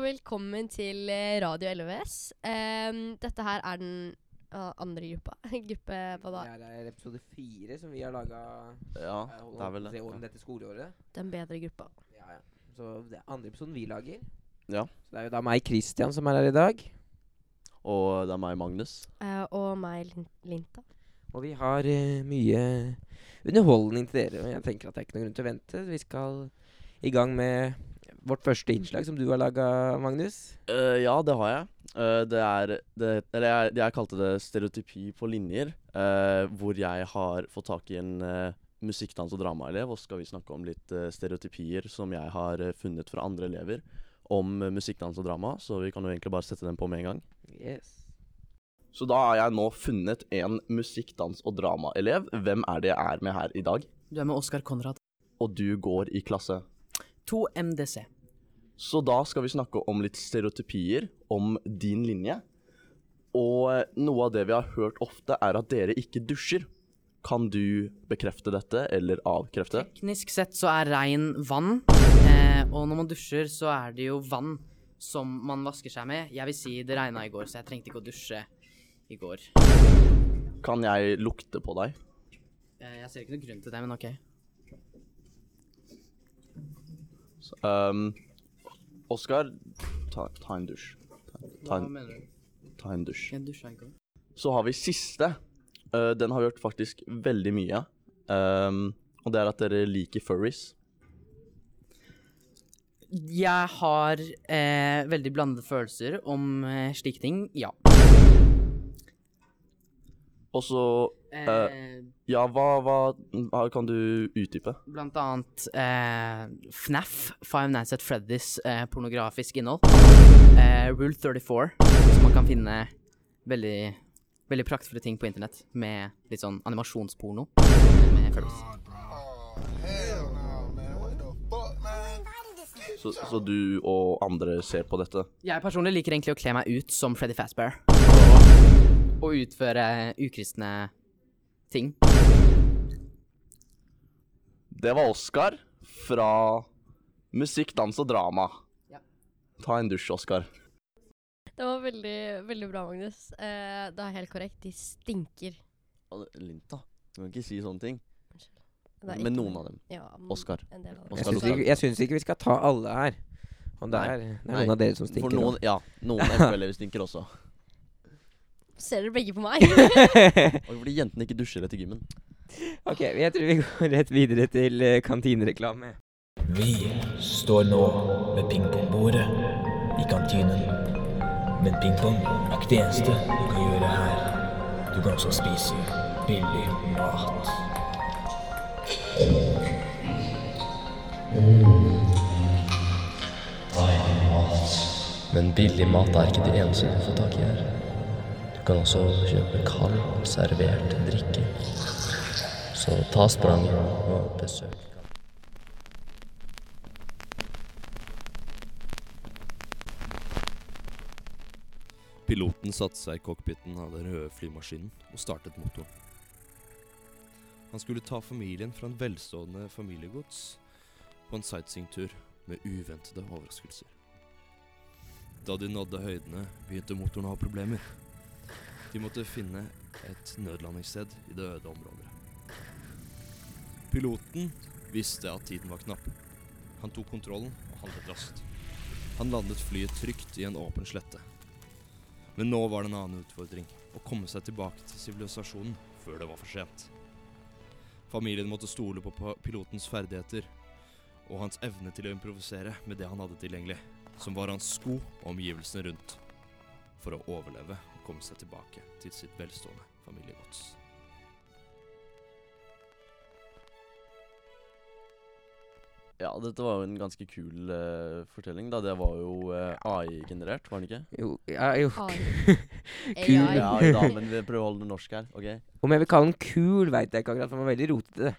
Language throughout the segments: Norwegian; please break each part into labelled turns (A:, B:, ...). A: velkommen til eh, Radio LVS. Em, Ehm, dette her er den ah, andre gruppa. Gruppe hva da?
B: Det er episode fire som vi har Eh, laga
C: Ja, det er vel det.
B: om dette skoleåret.
A: Den bedre gruppa.
B: Ja, ja. Så det er andre episoden vi lager.
C: Ja.
B: Så det er jo da meg, Christian, som er her i dag.
C: Og det er meg, Magnus.
A: Eh, og meg, Lin Linta.
B: Og vi har eh, mye underholdning til dere. Og jeg tenker at det er ikke noen grunn til å vente. Vi skal i gang med vårt første innslag som du har laga, Magnus.
C: Eh, ja, det har jeg. Eh, det er det, Eller jeg, jeg kalte det stereotypi på linjer. eh, hvor jeg har fått tak i en eh, musikk, dans og dramaelev, og skal vi snakke om litt eh, stereotypier som jeg har eh, funnet fra andre elever om eh, musikk, dans og drama. Så vi kan jo egentlig bare sette den på med en gang.
B: Yes.
C: Så da har jeg nå funnet en musikk, dans og dramaelev. Hvem er det jeg er med her i dag?
D: Du er med Oskar Konrad.
C: Og du går i klasse
D: 2MDC.
C: Så da skal vi snakke om litt stereotypier om din linje. Og eh, noe av det vi har hørt ofte, er at dere ikke dusjer. Kan du bekrefte dette, eller avkrefte?
D: Teknisk sett så er regn vann, eh, og når man dusjer så er det jo vann som man vasker seg med. Jeg vil si det regna i går, så jeg trengte ikke å dusje i går.
C: Kan jeg lukte på deg?
D: Eh, jeg ser ikke noen grunn til det, men OK.
C: Um, Oskar, ta, ta en dusj. Ta, ta,
D: Hva
C: en,
D: mener du?
C: ta en dusj.
D: Jeg dusja i går.
C: Så har vi siste. Eh, den har vi hørt faktisk veldig mye. Um, og det er at dere liker furries.
D: Jeg har eh, veldig blandede følelser om eh, slike ting, ja.
C: Og så
D: Eh,
C: Ja, hva, hva, hva kan du utdype?
D: blant annet eh, FNAF, Five Nights at Freddy's eh, pornografisk innhold. Eh, Rule 34, så man kan finne veldig, veldig praktfulle ting på internett med litt sånn animasjonsporno. Med Freddy's.
E: Hell no, man. What the fuck, man?
C: Så, så du og andre ser på dette?
D: Jeg personlig liker egentlig å kle meg ut som Freddy Fazbear. Og utføre ukristne ting.
C: Det var Oskar fra Musikk, dans og drama.
D: Ja.
C: Ta en dusj, Oskar.
A: Det var veldig, veldig bra, Magnus. Eh, det er helt korrekt. De stinker.
C: Linta, du kan ikke si sånne ting.
A: Det er
C: Men
A: ikke-
C: noen av dem.
A: Ja, mm,
C: Oskar.
A: En del av
C: Og
A: dem.
B: Jeg
C: skal
B: syns
C: lukte.
B: ikke, jeg syns ikke vi skal ta alle her. Og det
C: Nei.
B: er, det er
C: Nei.
B: noen av dere som stinker.
C: For noen, ja, noen FL-elever stinker også.
A: Ser dere begge på meg?
B: nå.
C: Og fordi jentene ikke dusjer etter gymmen.
B: ok, jeg tror vi går rett videre til eh, kantinereklame.
F: Vi står nå ved pingpongbordet i kantinen. Men pingpong er ikke det eneste du kan gjøre her. Du kan også spise billig mat.
G: Men billig mat er ikke det eneste du får tak i her. Du kan også kjøpe kald, servert drikke. Så ta spranget og besøk.
H: Piloten satte seg i cockpiten av den røde flymaskinen og startet motoren. Han skulle ta familien fra en velstående familiegods på en sightseeingtur med uventede overraskelser. Da de nådde høydene, begynte motoren å ha problemer. De måtte finne et nødlandingssted i det øde området. Piloten visste at tiden var knapp. Han tok kontrollen og handlet raskt. Han landet flyet trygt i en åpen slette. Men nå var det en annen utfordring. Å komme seg tilbake til sivilisasjonen før det var for sent. Familien måtte stole på pa- pilotens ferdigheter og hans evne til å improvisere med det han hadde tilgjengelig, som var hans sko og omgivelsene rundt, for å overleve og komme seg tilbake til sitt velstående familiegods.
C: Ja, dette var jo en ganske kul eh, fortelling, da. Det var jo eh, AI-generert, var den ikke?
B: Jo, ja, jo.
A: AI. AI.
C: Ja, ja, men vi prøver å holde det norsk her, OK?
B: Om jeg vil kalle den kul, veit jeg ikke akkurat, for den var veldig rotete.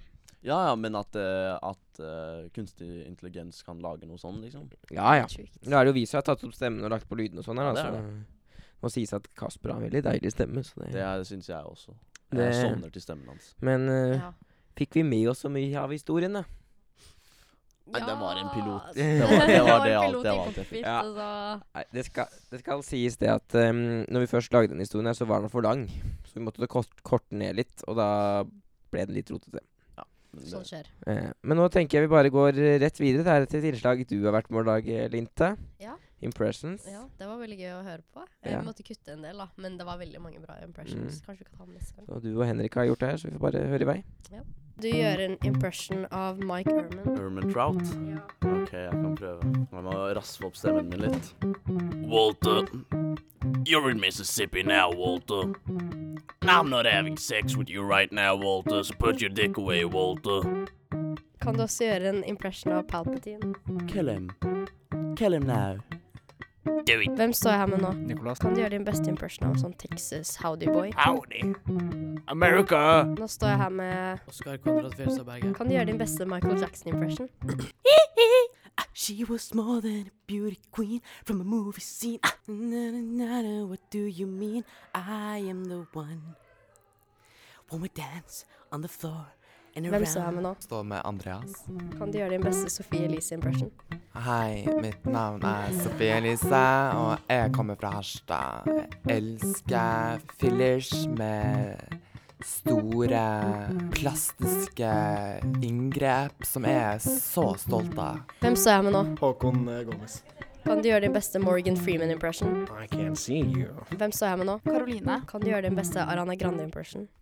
C: Ja, ja, men at, eh, at eh, kunstig intelligens kan lage noe sånn, liksom?
B: Ja ja.
A: Sjukt.
B: Da er det jo vi som har tatt opp stemmen og lagt på lyden og sånn her,
C: Ja, det
B: altså.
C: er
B: Må sies at Kasper har en veldig deilig stemme, så det,
C: Det syns jeg også.
B: Det-
C: Jeg sovner til stemmen hans.
B: Men eh,
A: Ja.
B: fikk vi med oss så mye av historien, da?
C: Nei, det var en pilot.
A: altså.
B: Det var-
C: det var det
A: en
C: alt-
A: pilot
C: det
A: i
C: var alt jeg
A: cockpit,
B: Ja.
A: altså.
B: Nei, det skal, det skal sies det at um, når vi først lagde den historien her, så var den for lang. Så vi måtte kort, korte den ned litt, og da ble den litt rotete.
C: Men det-
A: Sånn skjer.
B: Eh, men nå tenker jeg vi bare går eh, rett videre. Det er til et innslag du har vært med å lage, Linte.
A: Ja.
B: Impressions.
A: Ja, det var veldig gøy å høre på. Jeg
B: Ja.
A: måtte kutte en del, da. Men det var veldig mange bra impressions. Kanskje vi kan ta dem neste gang.
B: Og du og Henrik har gjort det her, så vi får bare høre i vei.
A: Du gjør en impression av Mike Erman.
C: Herman Trout? Ok, jeg kan prøve. Jeg må raspe opp stemmen min litt. Walter, you're in Mississippi now, Walter. I'm not having sex with you right now, Walter, so put your dick away, Walter.
A: Kan du også gjøre en impression av Palpatine?
C: Kill him. Kill him now. Do it.
A: Hvem står jeg her med nå?
I: Nicolas.
A: Kan du gjøre din beste impression av sånn Texas Howdy Boy?
C: Howdy. America.
A: Nå står jeg her med
D: Oskar Konrad Fjelstad Berge.
A: Kan du gjøre din beste Michael Jackson-impression?
J: Ah, She was more than a beauty queen from a movie scene. Ah, na, na, na, na, what do you mean? I am the one. One would dance on the floor and
A: Hvem står jeg her
J: around.
A: med nå?
I: Står med Andreas.
A: Kan du gjøre din beste Sophie Elise-impression?
I: Hei, mitt navn er Sofie Elise, og jeg kommer fra Harstad. Jeg elsker fillers med store plastiske inngrep som jeg er så stolt av.
A: Hvem står jeg her med nå?
K: Håkon eh, Gomez.
A: Kan du gjøre din beste Morgan Freeman-impression?
K: I can't see you.
A: Hvem står jeg her med nå?
J: Karoline.
A: Kan du gjøre din beste Arana Grande-impression?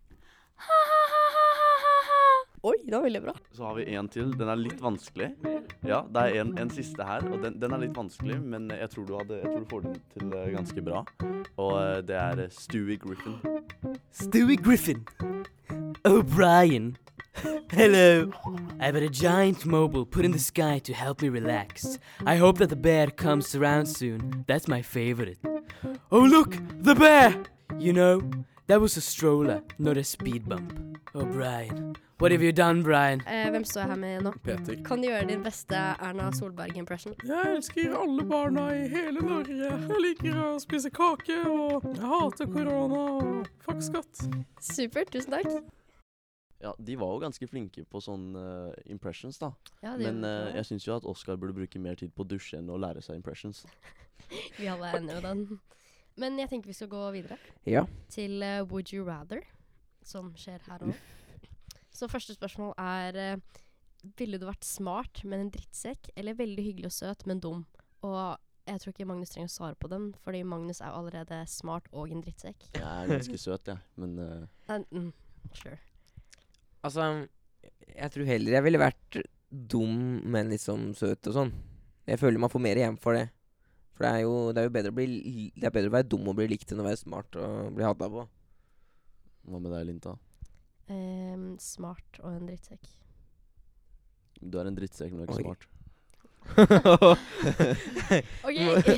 A: Oi, det var veldig bra.
C: Så har vi en til. Den er litt vanskelig. Ja, det er en, en siste her, og den, den er litt vanskelig, men jeg tror, du hadde, jeg tror du får den til eh, ganske bra. Og eh, det er eh, Stewie Griffin.
J: Stewie Griffin. O'Brien. Hello. I've had a giant mobile put in the sky to help me relax. I hope that the bear comes around soon. That's my favorite. Oh, look! The bear! You know, that was a stroller, not a speed bump. Oh, Brian. What have you done, Brian?
A: Eh, hvem står jeg her med nå?
I: Peter.
A: Kan du gjøre din beste Erna Solberg-impression?
I: Jeg elsker alle barna i hele Norge. Jeg liker å spise kake, og jeg hater korona og fuck skatt.
A: Supert, tusen takk.
C: Ja, de var jo ganske flinke på sånn eh, impressions, da.
A: Ja, det
C: Men
A: gjorde
C: eh,
A: vi.
C: jeg syns jo at Oscar burde bruke mer tid på å dusje enn å lære seg impressions.
A: vi alle er enige med den. Men jeg tenker vi skal gå videre
B: Ja.
A: til eh, Would you rather, som skjer her òg. Så første spørsmål er eh, Ville du vært smart, men en drittsekk, eller veldig hyggelig og søt, men dum? Og jeg tror ikke Magnus trenger å svare på den, fordi Magnus er jo allerede smart og en drittsekk.
C: Jeg er ganske søt, jeg, men eh,
A: Enten Sure.
B: Altså, jeg tror heller jeg ville vært dum, men litt sånn søt og sånn. Jeg føler man får mer igjen for det. For det er jo, det er jo bedre, å bli, li- det er bedre å være dum og bli likt enn å være smart og bli hata på.
C: hva med deg, Linta?
A: Ehm, smart og en drittsekk.
C: Du er en drittsekk, men du er
B: Oi.
C: ikke smart.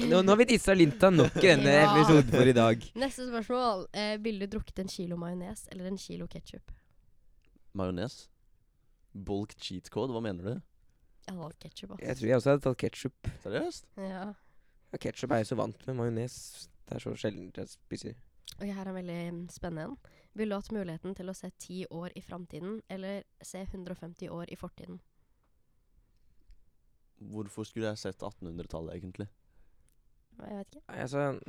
B: nå, nå har vi dissa Linta nok i denne
A: Ja.
B: episoden for i dag.
A: Neste spørsmål. Eh, ville du drukket en kilo majones eller en kilo ketsjup?
C: Majones? Bulk cheat code, hva mener du?
A: Jeg hadde valgt ketsjup, ass.
B: Jeg tror jeg også hadde tatt ketsjup.
C: Seriøst?
A: Ja.
B: Ja, ketsjup er jeg så vant med. Majones det er så sjelden jeg spiser.
A: Ok, her er en veldig mm, spennende en. Ville du hatt muligheten til å se ti år i framtiden, eller se 150 år i fortiden?
C: Hvorfor skulle jeg sett 1800-tallet, egentlig?
A: Nei, Jeg vet ikke.
B: Nei, Altså,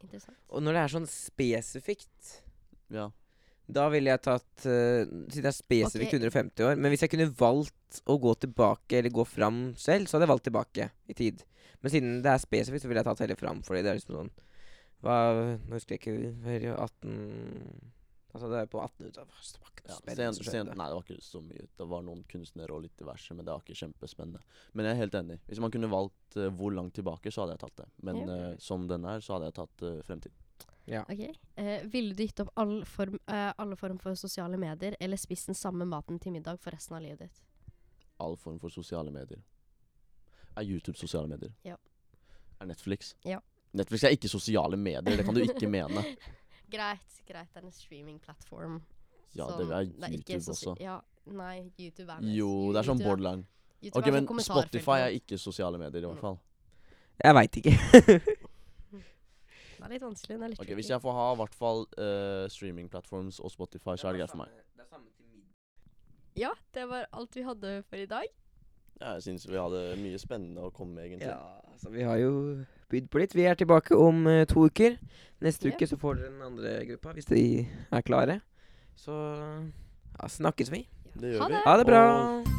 A: Interessant.
B: og når det er sånn spesifikt
C: Ja.
B: Da ville jeg tatt eh, Siden det er spesifikt
A: Ok.
B: 150 år. Men hvis jeg kunne valgt å gå tilbake eller gå fram selv, så hadde jeg valgt tilbake i tid. Men siden det er spesifikt, så ville jeg tatt heller fram. Fordi det er liksom sånn hva, Nå husker jeg ikke det er jo 18 Altså, det er på 1800-tallet. så Det var ikke noe
C: ja.
B: spennende
C: Sent,
B: som
C: sent,
B: skjedde.
C: nei, det var ikke så mye. Det var noen kunstnere og litt diverse, men det var ikke kjempespennende. Men jeg er helt enig. Hvis man kunne valgt eh, hvor langt tilbake, så hadde jeg tatt det. Men
A: Ja.
C: eh, som den er, så hadde jeg tatt eh, fremtid.
A: Ok. Eh, ville du gitt opp all form, eh, alle form for sosiale medier, eller spist den samme maten til middag for resten av livet ditt?
C: All form for sosiale medier. Er YouTube sosiale medier?
A: Ja.
C: Er Netflix?
A: Ja.
C: Netflix er ikke sosiale medier, det kan du ikke mene.
A: Greit, greit. Det er en streamingplattform.
C: Ja,
A: som-
C: det er
A: ikke
C: YouTube
A: sosi-
C: også.
A: Ja, nei, YouTube er mest.
C: Jo, det er sånn
A: YouTube
C: borderline.
A: YouTube
C: Ok,
A: er sånn
C: men
A: kommentarfelt Mm.
C: Spotify er
A: og-
C: ikke sosiale medier, i hvert fall.
B: Jeg veit ikke.
A: Det er litt vanskelig. Det er litt
C: Ok,
A: tricky.
C: Hvis jeg får ha i hvert fall eh, streamingplattforms og Spotify, så er det greit for meg.
A: Ja, det var alt vi hadde for i dag.
C: Ja, jeg syns vi hadde mye spennende å komme med, egentlig.
B: Ja, så vi har jo bydd på litt. Vi er tilbake om eh, to uker. Neste
A: Ja.
B: uke så får dere den andre gruppa, hvis de er klare. Så ja, snakkes vi.
C: Det gjør
A: Ha
C: vi.
A: det.
B: Ha det bra.
C: Og